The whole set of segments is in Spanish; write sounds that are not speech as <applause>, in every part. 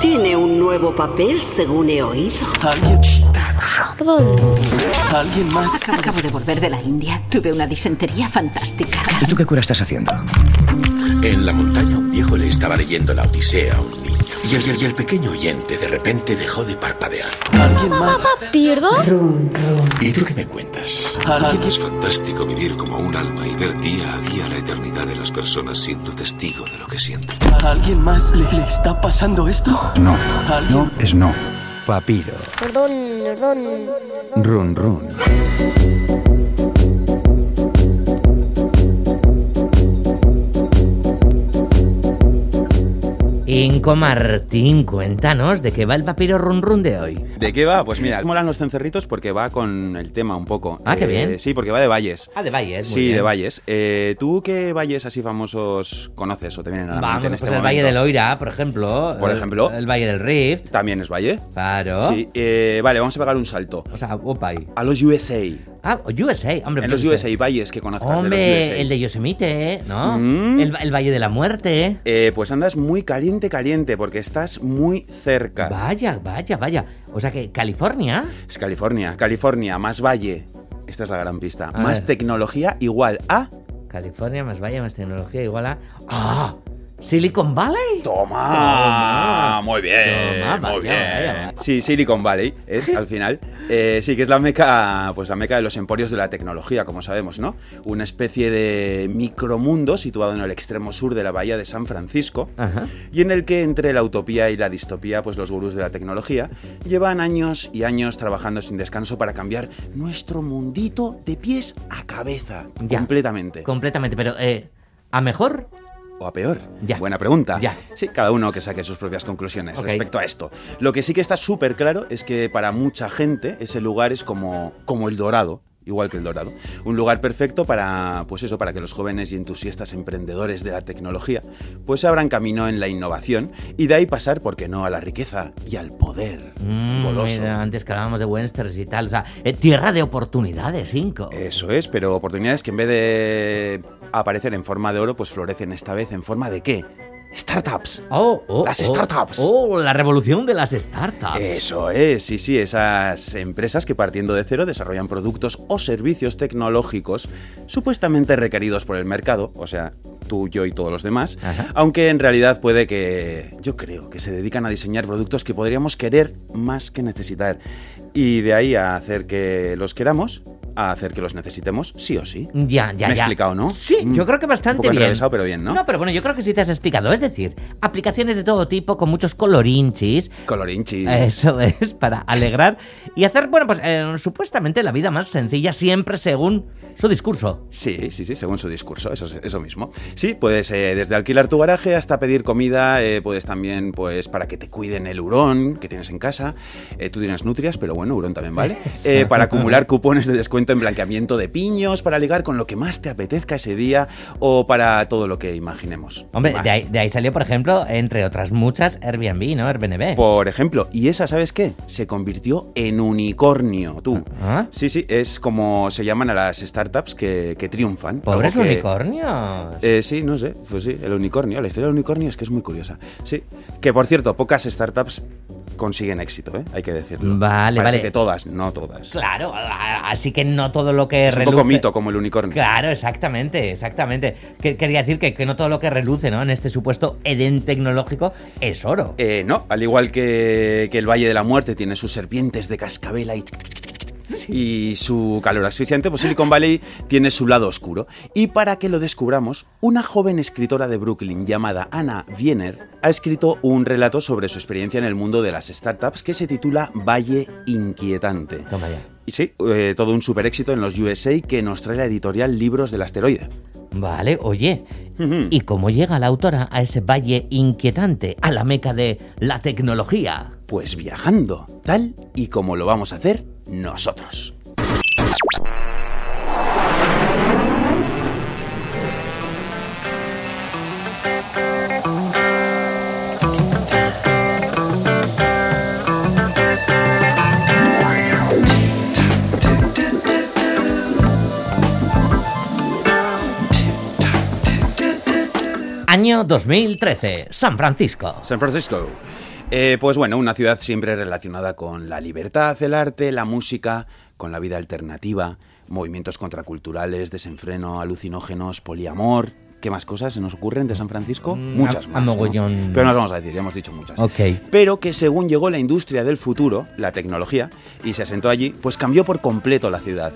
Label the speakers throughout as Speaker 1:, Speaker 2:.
Speaker 1: Tiene un nuevo papel, según he oído.
Speaker 2: ¿Alguien? ¿Alguien más?
Speaker 3: Acabo de volver de la India. Tuve una disentería fantástica.
Speaker 4: ¿Y tú qué cura estás haciendo?
Speaker 5: En la montaña un viejo le estaba leyendo la Odisea a un niño. Y el, y el- y el pequeño oyente de repente dejó de parpadear.
Speaker 2: ¿Alguien más?
Speaker 6: ¿Pierdo?
Speaker 5: ¿Y tú qué me cuentas?
Speaker 2: ¿Alguien?
Speaker 7: Es fantástico vivir como un alma y ver día a día la eternidad de las personas siendo testigo de lo que sienten.
Speaker 2: ¿Alguien más le le está pasando esto?
Speaker 8: No.
Speaker 2: ¿Alguien?
Speaker 8: No es no. Papiro.
Speaker 6: Perdón, perdón.
Speaker 8: Run, run.
Speaker 9: Inco Martín, cuéntanos de qué va el papiro run run de hoy.
Speaker 10: ¿De qué va? Pues mira, molan los cencerritos porque va con el tema un poco.
Speaker 9: Ah, qué
Speaker 10: Eh,
Speaker 9: bien.
Speaker 10: Sí, porque va de valles.
Speaker 9: Ah, de Valles. muy
Speaker 10: sí,
Speaker 9: bien.
Speaker 10: de valles. Eh, ¿Tú qué valles así famosos conoces o te vienen a la
Speaker 9: Vamos,
Speaker 10: mente en
Speaker 9: pues
Speaker 10: este
Speaker 9: el
Speaker 10: momento?
Speaker 9: Valle del Oira, por ejemplo.
Speaker 10: Por
Speaker 9: El-
Speaker 10: ejemplo.
Speaker 9: El, Valle del Rift,
Speaker 10: ¿También es valle?
Speaker 9: claro.
Speaker 10: Sí. eh, vale, vamos a pegar un salto.
Speaker 9: O sea, opa ahí.
Speaker 10: A los USA.
Speaker 9: Ah, USA, hombre.
Speaker 10: en los
Speaker 9: pero-
Speaker 10: USA, valles que conozcas de los USA.
Speaker 9: Hombre, el de Yosemite, ¿no?
Speaker 10: Mm.
Speaker 9: El, el Valle de la Muerte.
Speaker 10: Eh, pues andas muy caliente, caliente, porque estás muy cerca.
Speaker 9: Vaya, vaya, vaya. O sea que California.
Speaker 10: Es California, California, más valle. Esta es la gran pista.
Speaker 9: A
Speaker 10: más
Speaker 9: ver.
Speaker 10: tecnología igual a.
Speaker 9: California más Valle más tecnología igual a. ¡Ah! Silicon Valley. Toma.
Speaker 10: ¡Toma! Muy bien,
Speaker 9: Toma,
Speaker 10: muy
Speaker 9: vaya, vaya,
Speaker 10: bien.
Speaker 9: vaya.
Speaker 10: Sí, Silicon Valley es al final. Eh, sí, que es la meca, pues la meca de los emporios de la tecnología, como sabemos, ¿no? Una especie de micromundo situado en el extremo sur de la bahía de San Francisco.
Speaker 9: Ajá.
Speaker 10: y en el que entre la utopía y la distopía, pues los gurús de la tecnología llevan años y años trabajando sin descanso para cambiar nuestro mundito de pies a cabeza,
Speaker 9: Ya.
Speaker 10: completamente.
Speaker 9: Completamente, pero eh, a mejor.
Speaker 10: ¿O a peor?
Speaker 9: Ya.
Speaker 10: Buena pregunta.
Speaker 9: Ya.
Speaker 10: Sí, cada uno que saque sus propias conclusiones
Speaker 9: Ok.
Speaker 10: respecto a esto. Lo que sí que está súper claro es que para mucha gente ese lugar es como, como el dorado. Igual que el dorado. Un lugar perfecto para, pues eso, para que los jóvenes y entusiastas emprendedores de la tecnología pues se abran camino en la innovación y de ahí pasar, ¿por qué no?, a la riqueza y al poder
Speaker 9: Mm,
Speaker 10: goloso.
Speaker 9: mira, antes que hablábamos de Wensters y tal. O sea, eh, tierra de oportunidades, Inco.
Speaker 10: Eso es, pero oportunidades que en vez de aparecer en forma de oro, pues florecen esta vez en forma de qué? Startups.
Speaker 9: Oh, oh,
Speaker 10: las
Speaker 9: oh.
Speaker 10: startups. Eh,
Speaker 9: Oh, la revolución de las startups.
Speaker 10: Eso es, sí, sí, esas empresas que partiendo de cero desarrollan productos o servicios tecnológicos supuestamente requeridos por el mercado, o sea, tú, yo y todos los demás,
Speaker 9: Ajá.
Speaker 10: aunque en realidad puede que, yo creo, que se dedican a diseñar productos que podríamos querer más que necesitar, y de ahí a hacer que los queramos, a hacer que los necesitemos, sí o sí.
Speaker 9: Ya, ya,
Speaker 10: Me he
Speaker 9: ya.
Speaker 10: explicado, ¿no?
Speaker 9: Sí,
Speaker 10: Mm,
Speaker 9: yo creo que
Speaker 10: un
Speaker 9: bastante
Speaker 10: poco
Speaker 9: bien.
Speaker 10: enrevesado, pero bien, ¿no?
Speaker 9: No, pero bueno, yo creo que sí te has explicado. Es decir, aplicaciones de todo tipo con muchos colorinchis.
Speaker 10: Colorinchi.
Speaker 9: Eso es, para alegrar y hacer, bueno, pues eh, supuestamente la vida más sencilla siempre según su discurso.
Speaker 10: Sí, sí, sí, según su discurso, eso, es- eso mismo. Sí, puedes eh, desde alquilar tu garaje hasta pedir comida, eh, puedes también, pues, para que te cuiden el hurón que tienes en casa. Eh, tú tienes nutrias, pero bueno, hurón también vale. Eh, para acumular cupones de descuento en blanqueamiento de piños, para ligar con lo que más te apetezca ese día o para todo lo que imaginemos.
Speaker 9: Hombre,
Speaker 10: Más.
Speaker 9: de ahí, de ahí salió, por ejemplo, entre otras muchas, Airbnb, ¿no? Airbnb.
Speaker 10: Por ejemplo, y esa, ¿sabes qué? Se convirtió en unicornio, tú.
Speaker 9: Ah.
Speaker 10: Sí, sí, es como se llaman a las startups que, que triunfan.
Speaker 9: Pobres
Speaker 10: algo que-
Speaker 9: unicornios.
Speaker 10: Eh, sí, no sé, pues sí, el unicornio, la historia del unicornio es que es muy curiosa. Sí, que por cierto, pocas startups consiguen éxito, ¿eh? hay que decirlo.
Speaker 9: Vale,
Speaker 10: Parece
Speaker 9: vale.
Speaker 10: que todas, no todas.
Speaker 9: Claro, a- a- así que no todo lo que
Speaker 10: Es un
Speaker 9: reluce...
Speaker 10: poco mito como el unicornio.
Speaker 9: Claro, exactamente, exactamente. Que- Quería decir que, que no todo lo que reluce, ¿no? En este supuesto Edén tecnológico es oro.
Speaker 10: Eh, no, al igual que, que el Valle de la Muerte tiene sus serpientes de cascabela y... Y su calor asfixiante, pues Silicon Valley tiene su lado oscuro. Y para que lo descubramos, una joven escritora de Brooklyn llamada Anna Wiener ha escrito un relato sobre su experiencia en el mundo de las startups que se titula Valle Inquietante.
Speaker 9: Toma ya.
Speaker 10: Y sí, eh, todo un super éxito en los USA que nos trae la editorial Libros del Asteroide.
Speaker 9: Vale, oye.
Speaker 10: Ujú.
Speaker 9: ¿Y cómo llega la autora a ese valle inquietante, a la meca de la tecnología?
Speaker 10: Pues viajando, tal y como lo vamos a hacer nosotros.
Speaker 9: Año 2013, San Francisco.
Speaker 10: San Francisco. Eh, pues bueno, una ciudad siempre relacionada con la libertad, el arte, la música, con la vida alternativa, movimientos contraculturales, desenfreno, alucinógenos, poliamor. ¿Qué más cosas se nos ocurren de San Francisco?
Speaker 9: Mm,
Speaker 10: muchas
Speaker 9: a- a
Speaker 10: más. ¿no?
Speaker 9: mogollón.
Speaker 10: Pero no las vamos a decir, ya hemos dicho muchas.
Speaker 9: Ok.
Speaker 10: Pero que según llegó la industria del futuro, la tecnología, y se asentó allí, pues cambió por completo la ciudad.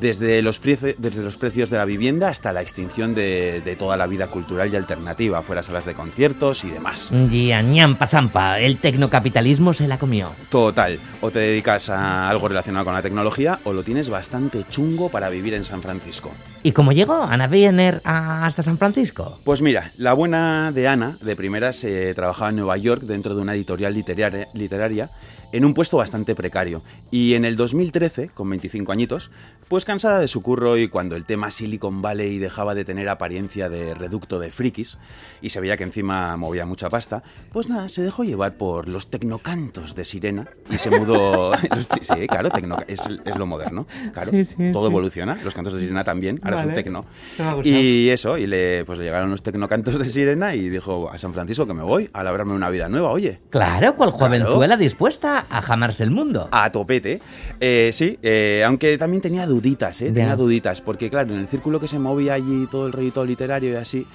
Speaker 10: Desde los, prece- desde los precios de la vivienda hasta la extinción de, de toda la vida cultural y alternativa, fuera salas de conciertos y demás.
Speaker 9: ñampa zampa, el tecnocapitalismo se la comió.
Speaker 10: Total, o te dedicas a algo relacionado con la tecnología o lo tienes bastante chungo para vivir en San Francisco.
Speaker 9: ¿Y cómo llegó Ana Wiener a- hasta San Francisco?
Speaker 10: Pues mira, la buena de Ana, de primeras, se trabajaba en Nueva York dentro de una editorial literaria, literaria en un puesto bastante precario. Y en el 2013, con 25 añitos, pues cansada de su curro y cuando el tema Silicon Valley dejaba de tener apariencia de reducto de frikis y se veía que encima movía mucha pasta, pues nada, se dejó llevar por los tecnocantos de Sirena y se
Speaker 9: <laughs>
Speaker 10: mudó... <laughs> sí, claro, tecno, es, es lo moderno. Claro,
Speaker 9: Sí, sí,
Speaker 10: todo
Speaker 9: sí.
Speaker 10: evoluciona, los cantos de Sirena también, ahora es
Speaker 9: Vale.
Speaker 10: un tecno.
Speaker 9: Me ha gustado.
Speaker 10: Y y eso, y le, pues le llegaron los tecnocantos de Sirena y dijo a San Francisco que me voy a labrarme una vida nueva, oye.
Speaker 9: Claro, cual
Speaker 10: Claro.
Speaker 9: jovenzuela dispuesta a jamarse el mundo.
Speaker 10: A topete. Eh, sí, eh, aunque también tenía duditas, ¿eh?
Speaker 9: Ya.
Speaker 10: Tenía duditas, porque claro, en el círculo que se movía allí todo el rollito literario y así,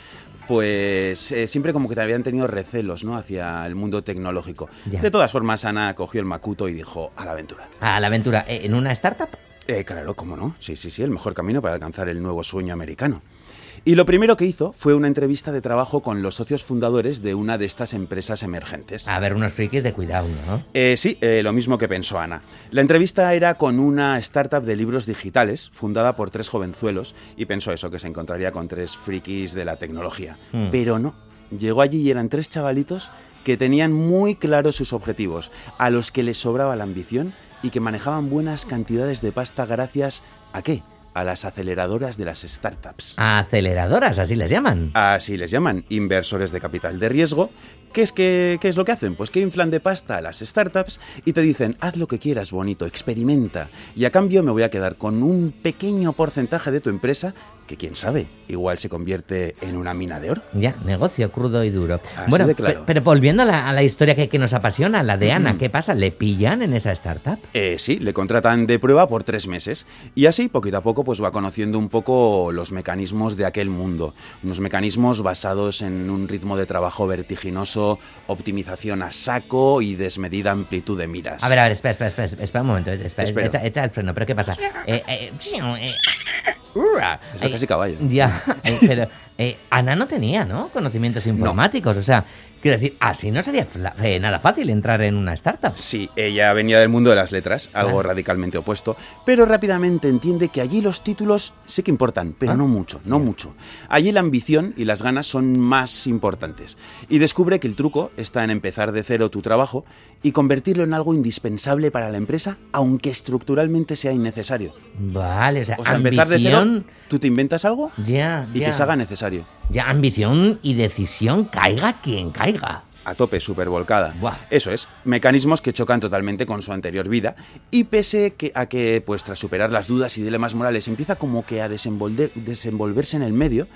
Speaker 10: pues eh, siempre como que te habían tenido recelos, ¿no? Hacia el mundo tecnológico.
Speaker 9: Ya.
Speaker 10: De todas formas, Ana cogió el Makuto y dijo, a la aventura.
Speaker 9: A la aventura eh, en una startup.
Speaker 10: Eh, claro, cómo no. Sí, sí, sí, el mejor camino para alcanzar el nuevo sueño americano. Y lo primero que hizo fue una entrevista de trabajo con los socios fundadores de una de estas empresas emergentes.
Speaker 9: A ver, unos frikis de cuidado, ¿no?
Speaker 10: Eh, sí, eh, lo mismo que pensó Ana. La entrevista era con una startup de libros digitales fundada por tres jovenzuelos y pensó eso, que se encontraría con tres frikis de la tecnología.
Speaker 9: Hmm.
Speaker 10: Pero no, llegó allí y eran tres chavalitos que tenían muy claros sus objetivos, a los que les sobraba la ambición y que manejaban buenas cantidades de pasta gracias a qué? A las aceleradoras de las startups.
Speaker 9: Aceleradoras, así les llaman.
Speaker 10: Así les llaman, inversores de capital de riesgo. ¿Qué es, que, qué es lo que hacen? Pues que inflan de pasta a las startups y te dicen, haz lo que quieras, bonito, experimenta. Y a cambio me voy a quedar con un pequeño porcentaje de tu empresa que quién sabe, igual se convierte en una mina de oro.
Speaker 9: Ya, negocio crudo y duro.
Speaker 10: Así
Speaker 9: bueno,
Speaker 10: de claro. Mm.
Speaker 9: pe- pero volviendo a la, a la historia que, que nos apasiona, la de Ana, ¿qué pasa? ¿Le pillan en esa startup?
Speaker 10: Eh, sí, le contratan de prueba por tres meses y así poquito a poco pues va conociendo un poco los mecanismos de aquel mundo, unos mecanismos basados en un ritmo de trabajo vertiginoso, optimización a saco y desmedida amplitud de miras.
Speaker 9: A ver, a ver, espera, espera, espera, espera, espera un momento, eh, espera,
Speaker 10: Espero.
Speaker 9: echa, echa el freno, pero ¿qué pasa? Eh, eh, eh, urra.
Speaker 10: Eso casi caballo.
Speaker 9: Ya, <laughs> eh, pero eh, Ana no tenía, ¿no? Conocimientos informáticos, o sea, quiero decir, así no sería fla- eh, nada fácil entrar en una startup.
Speaker 10: Sí, ella venía del mundo de las letras, algo
Speaker 9: Claro.
Speaker 10: radicalmente opuesto, pero rápidamente entiende que allí los títulos sí que importan, pero
Speaker 9: Ah.
Speaker 10: no mucho, no mucho. Allí la ambición y las ganas son más importantes. Y descubre que el truco está en empezar de cero tu trabajo y convertirlo en algo indispensable para la empresa, aunque estructuralmente sea innecesario.
Speaker 9: Vale, o sea,
Speaker 10: O sea, empezar de cero,
Speaker 9: ambición,
Speaker 10: tú te inventas algo
Speaker 9: ya,
Speaker 10: y
Speaker 9: ya,
Speaker 10: que se haga necesario.
Speaker 9: ya, ambición y decisión, caiga quien caiga.
Speaker 10: a tope, súper volcada.
Speaker 9: Buah.
Speaker 10: Eso es, mecanismos que chocan totalmente con su anterior vida y pese que, a que, pues tras superar las dudas y dilemas morales, empieza como que a desenvolver- desenvolverse en el medio,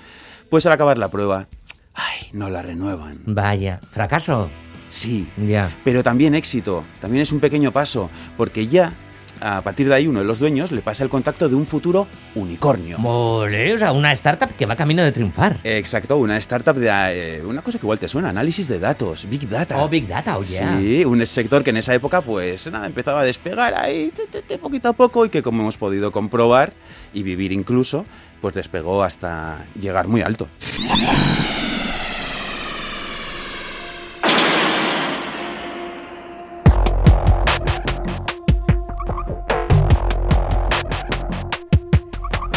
Speaker 10: pues al acabar la prueba, ay, no la renuevan.
Speaker 9: Vaya, fracaso,
Speaker 10: Sí,
Speaker 9: ya.
Speaker 10: pero también éxito, también es un pequeño paso, porque ya, a partir de ahí, uno de los dueños le pasa el contacto de un futuro unicornio.
Speaker 9: Mole, o sea, una startup que va camino de triunfar.
Speaker 10: Exacto, una startup de eh, una cosa que igual te suena, análisis de datos, big data.
Speaker 9: Oh, Big Data, oye.
Speaker 10: Sí, un sector que en esa época, pues nada, empezaba a despegar ahí, te- te- te, poquito a poco, y que como hemos podido comprobar y vivir incluso, pues despegó hasta llegar muy alto.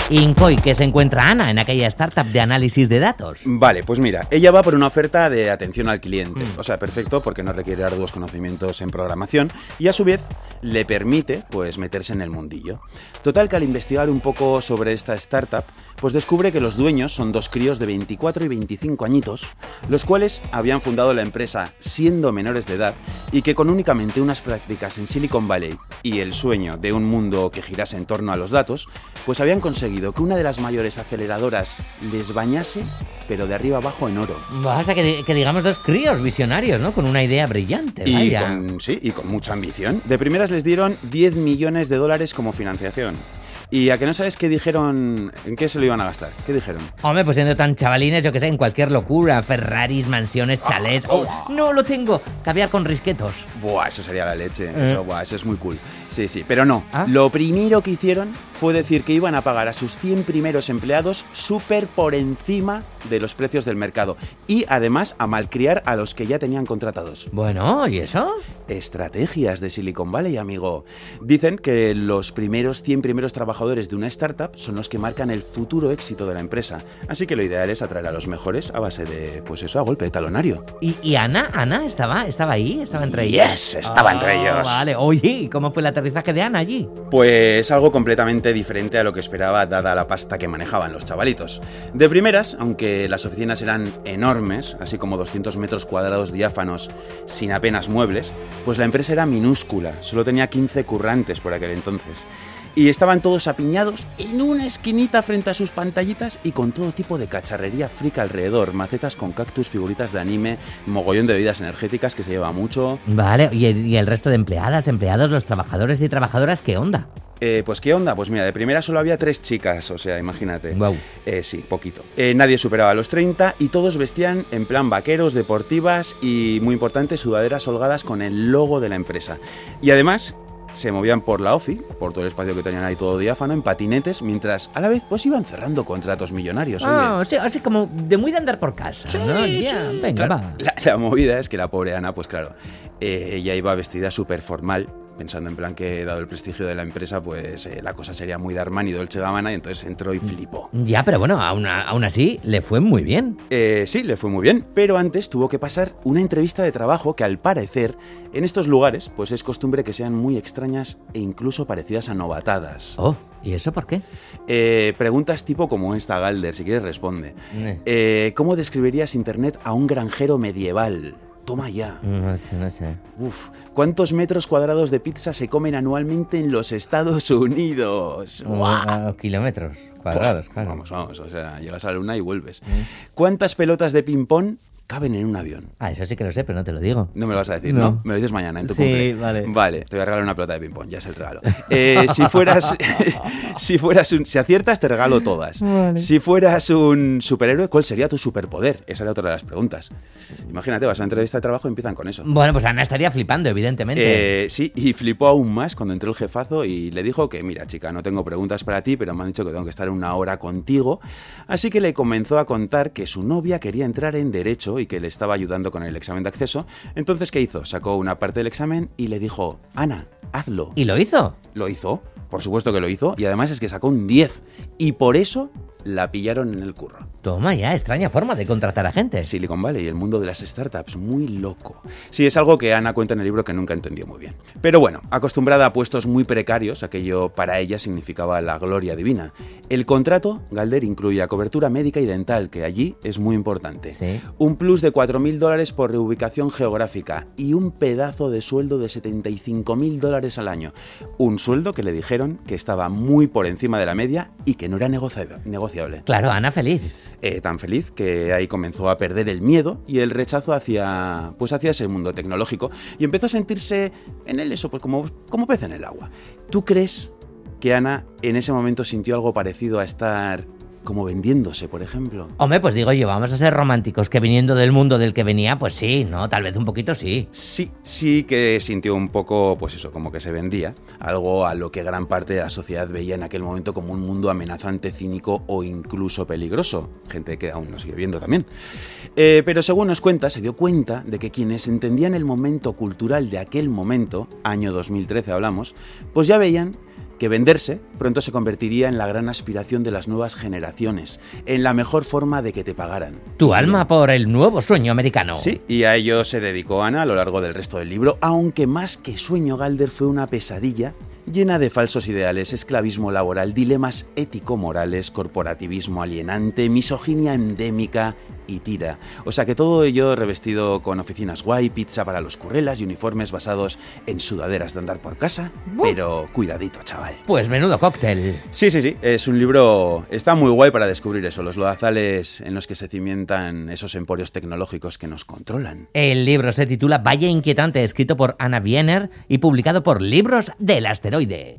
Speaker 9: Incoy, que se encuentra Ana en aquella startup de análisis de datos.
Speaker 10: Vale, pues mira, ella va por una oferta de atención al cliente. O sea, perfecto, porque no requiere arduos conocimientos en programación y a su vez le permite, pues, meterse en el mundillo. Total que al investigar un poco sobre esta startup, pues descubre que los dueños son dos críos de 24 y 25 añitos, los cuales habían fundado la empresa siendo menores de edad y que con únicamente unas prácticas en Silicon Valley y el sueño de un mundo que girase en torno a los datos, pues habían conseguido conseguido que una de las mayores aceleradoras les bañase, pero de arriba abajo en oro.
Speaker 9: Vas a que, di- que digamos dos críos visionarios, ¿no? Con una idea brillante,
Speaker 10: Y
Speaker 9: Eh, vaya.
Speaker 10: con, sí, y con mucha ambición. De primeras les dieron 10 millones de dólares como financiación. Y a que no sabes qué dijeron, en qué se lo iban a gastar. ¿Qué dijeron?
Speaker 9: Hombre, pues siendo tan chavalines, yo que sé, en cualquier locura, Ferraris, mansiones, chalés.
Speaker 10: Ah,
Speaker 9: Oh, no lo tengo. Caviar con risquetos.
Speaker 10: Buah, eso sería la leche.
Speaker 9: Eh.
Speaker 10: Eso, buah, eso es muy cool. Sí, sí, pero no.
Speaker 9: ¿Ah?
Speaker 10: Lo primero que hicieron fue decir que iban a pagar a sus 100 primeros empleados súper por encima de los precios del mercado. Y además a malcriar a los que ya tenían contratados.
Speaker 9: Bueno, ¿y eso?
Speaker 10: Estrategias de Silicon Valley, amigo. Dicen que los primeros 100 primeros trabajadores de una startup son los que marcan el futuro éxito de la empresa. Así que lo ideal es atraer a los mejores a base de, pues eso, a golpe de talonario.
Speaker 9: ¿Y, y Ana? ¿Ana estaba, estaba ahí? ¿Estaba entre ellos? Ah,
Speaker 10: Yes, estaba entre ellos.
Speaker 9: Vale, oye, ¿y ¿cómo fue el aterrizaje de Ana allí?
Speaker 10: Pues algo completamente diferente a lo que esperaba dada la pasta que manejaban los chavalitos. De primeras, aunque las oficinas eran enormes, así como 200 metros cuadrados diáfanos, sin apenas muebles, pues la empresa era minúscula, solo tenía 15 currantes por aquel entonces. Y estaban todos apiñados en una esquinita frente a sus pantallitas y con todo tipo de cacharrería frica alrededor, macetas con cactus, figuritas de anime, mogollón de bebidas energéticas que se lleva mucho,
Speaker 9: Vale, ¿y el, y el resto de empleadas, empleados, los trabajadores y trabajadoras, qué onda?
Speaker 10: Eh, pues qué onda, pues mira, de primera solo había tres chicas, o sea, imagínate.
Speaker 9: Guau.
Speaker 10: Eh, sí, poquito. Eh, nadie superaba los 30 y todos vestían en plan vaqueros, deportivas y, muy importante, sudaderas holgadas con el logo de la empresa. Y además se movían por la OFI, por todo el espacio que tenían ahí todo diáfano, en patinetes, mientras a la vez pues iban cerrando contratos millonarios. oye.
Speaker 9: Ah, sí, así como de muy de andar por casa, ¿no? Ya, Venga,
Speaker 10: Claro,
Speaker 9: va.
Speaker 10: La, la movida es que la pobre Ana, pues claro, eh, ella iba vestida súper formal, pensando en plan que dado el prestigio de la empresa, pues eh, la cosa sería muy de Armani, Dolce Gabbana, y entonces entró y flipó.
Speaker 9: Ya, pero bueno, aún, aún así le fue muy bien.
Speaker 10: Eh, sí, le fue muy bien, pero antes tuvo que pasar una entrevista de trabajo que al parecer en estos lugares pues es costumbre que sean muy extrañas e incluso parecidas a novatadas.
Speaker 9: Oh, ¿y eso por qué?
Speaker 10: Eh, preguntas tipo como esta, Galder, si quieres responde.
Speaker 9: Eh.
Speaker 10: Eh, ¿Cómo describirías Internet a un granjero medieval? Toma ya.
Speaker 9: No sé, no sé.
Speaker 10: Uf, ¿cuántos metros cuadrados de pizza se comen anualmente en los Estados Unidos? ¡Guau!
Speaker 9: Ah, kilómetros cuadrados, claro. Mm.
Speaker 10: Vamos, vamos, o sea, llegas a la luna y vuelves. ¿Cuántas pelotas de ping-pong caben en un avión?
Speaker 9: Ah, eso sí que lo sé, pero no te lo digo.
Speaker 10: No me lo vas a decir, ¿no?
Speaker 9: No.
Speaker 10: Me lo dices mañana en tu
Speaker 9: Sí,
Speaker 10: cumple.
Speaker 9: vale.
Speaker 10: Vale, te voy a regalar una pelota de ping-pong, ya es el regalo. Eh, si
Speaker 9: <laughs>
Speaker 10: fueras. si fueras un. Si aciertas, te regalo todas. Si fueras un superhéroe, ¿cuál sería tu superpoder? Esa era otra de las preguntas. Imagínate, vas a una entrevista de trabajo y empiezan con eso.
Speaker 9: Bueno, pues Ana estaría flipando, evidentemente.
Speaker 10: Eh, sí, y flipó aún más cuando entró el jefazo y le dijo que, mira, chica, no tengo preguntas para ti, pero me han dicho que tengo que estar una hora contigo. Así que le comenzó a contar que su novia quería entrar en Derecho y que le estaba ayudando con el examen de acceso. Entonces, ¿qué hizo? Sacó una parte del examen y le dijo, Ana, hazlo.
Speaker 9: ¿Y lo hizo?
Speaker 10: Lo hizo, por supuesto que lo hizo, y además es que sacó un 10. Y por eso la pillaron en el curro.
Speaker 9: Toma ya, extraña forma de contratar a gente.
Speaker 10: Silicon Valley y el mundo de las startups, muy loco. Sí, es algo que Ana cuenta en el libro que nunca entendió muy bien. Pero bueno, acostumbrada a puestos muy precarios, aquello para ella significaba la gloria divina. El contrato, Galder, incluía cobertura médica y dental, que allí es muy importante.
Speaker 9: Sí.
Speaker 10: Un plus de 4.000 dólares por reubicación geográfica y un pedazo de sueldo de 75.000 dólares al año. Un sueldo que le dijeron que estaba muy por encima de la media y que no era negocia- negociable.
Speaker 9: Claro, Ana feliz.
Speaker 10: Eh, tan feliz que ahí comenzó a perder el miedo y el rechazo hacia pues hacia ese mundo tecnológico y empezó a sentirse en él eso pues como como pez en el agua. ¿Tú crees que Ana en ese momento sintió algo parecido a estar como vendiéndose, por ejemplo?
Speaker 9: Hombre, pues digo yo, vamos a ser románticos, que viniendo del mundo del que venía, pues sí, ¿no? Tal vez un poquito sí.
Speaker 10: Sí, sí que sintió un poco, pues eso, como que se vendía, algo a lo que gran parte de la sociedad veía en aquel momento como un mundo amenazante, cínico o incluso peligroso, gente que aún lo sigue viendo también. Eh, pero según nos cuenta, se dio cuenta de que quienes entendían el momento cultural de aquel momento, año 2013 hablamos, pues ya veían que venderse pronto se convertiría en la gran aspiración de las nuevas generaciones, en la mejor forma de que te pagaran.
Speaker 9: Tu alma por el nuevo sueño americano.
Speaker 10: Sí, y a ello se dedicó Ana a lo largo del resto del libro, aunque más que sueño Galder fue una pesadilla llena de falsos ideales, esclavismo laboral, dilemas ético-morales, corporativismo alienante, misoginia endémica y tira. O sea que todo ello revestido con oficinas guay, pizza para los currelas y uniformes basados en sudaderas de andar por casa. Pero cuidadito, chaval.
Speaker 9: Pues menudo cóctel.
Speaker 10: Sí, sí, sí, es un libro, está muy guay para descubrir eso, los lodazales en los que se cimentan esos emporios tecnológicos que nos controlan.
Speaker 9: El libro se titula Valle Inquietante, escrito por Anna Wiener y publicado por Libros del Asteroide.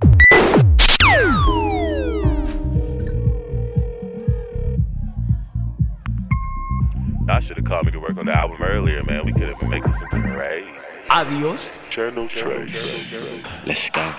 Speaker 4: Y'all should have called me to work on the album earlier, man. We could have been making some great. Adios. Channel Trace. Let's go.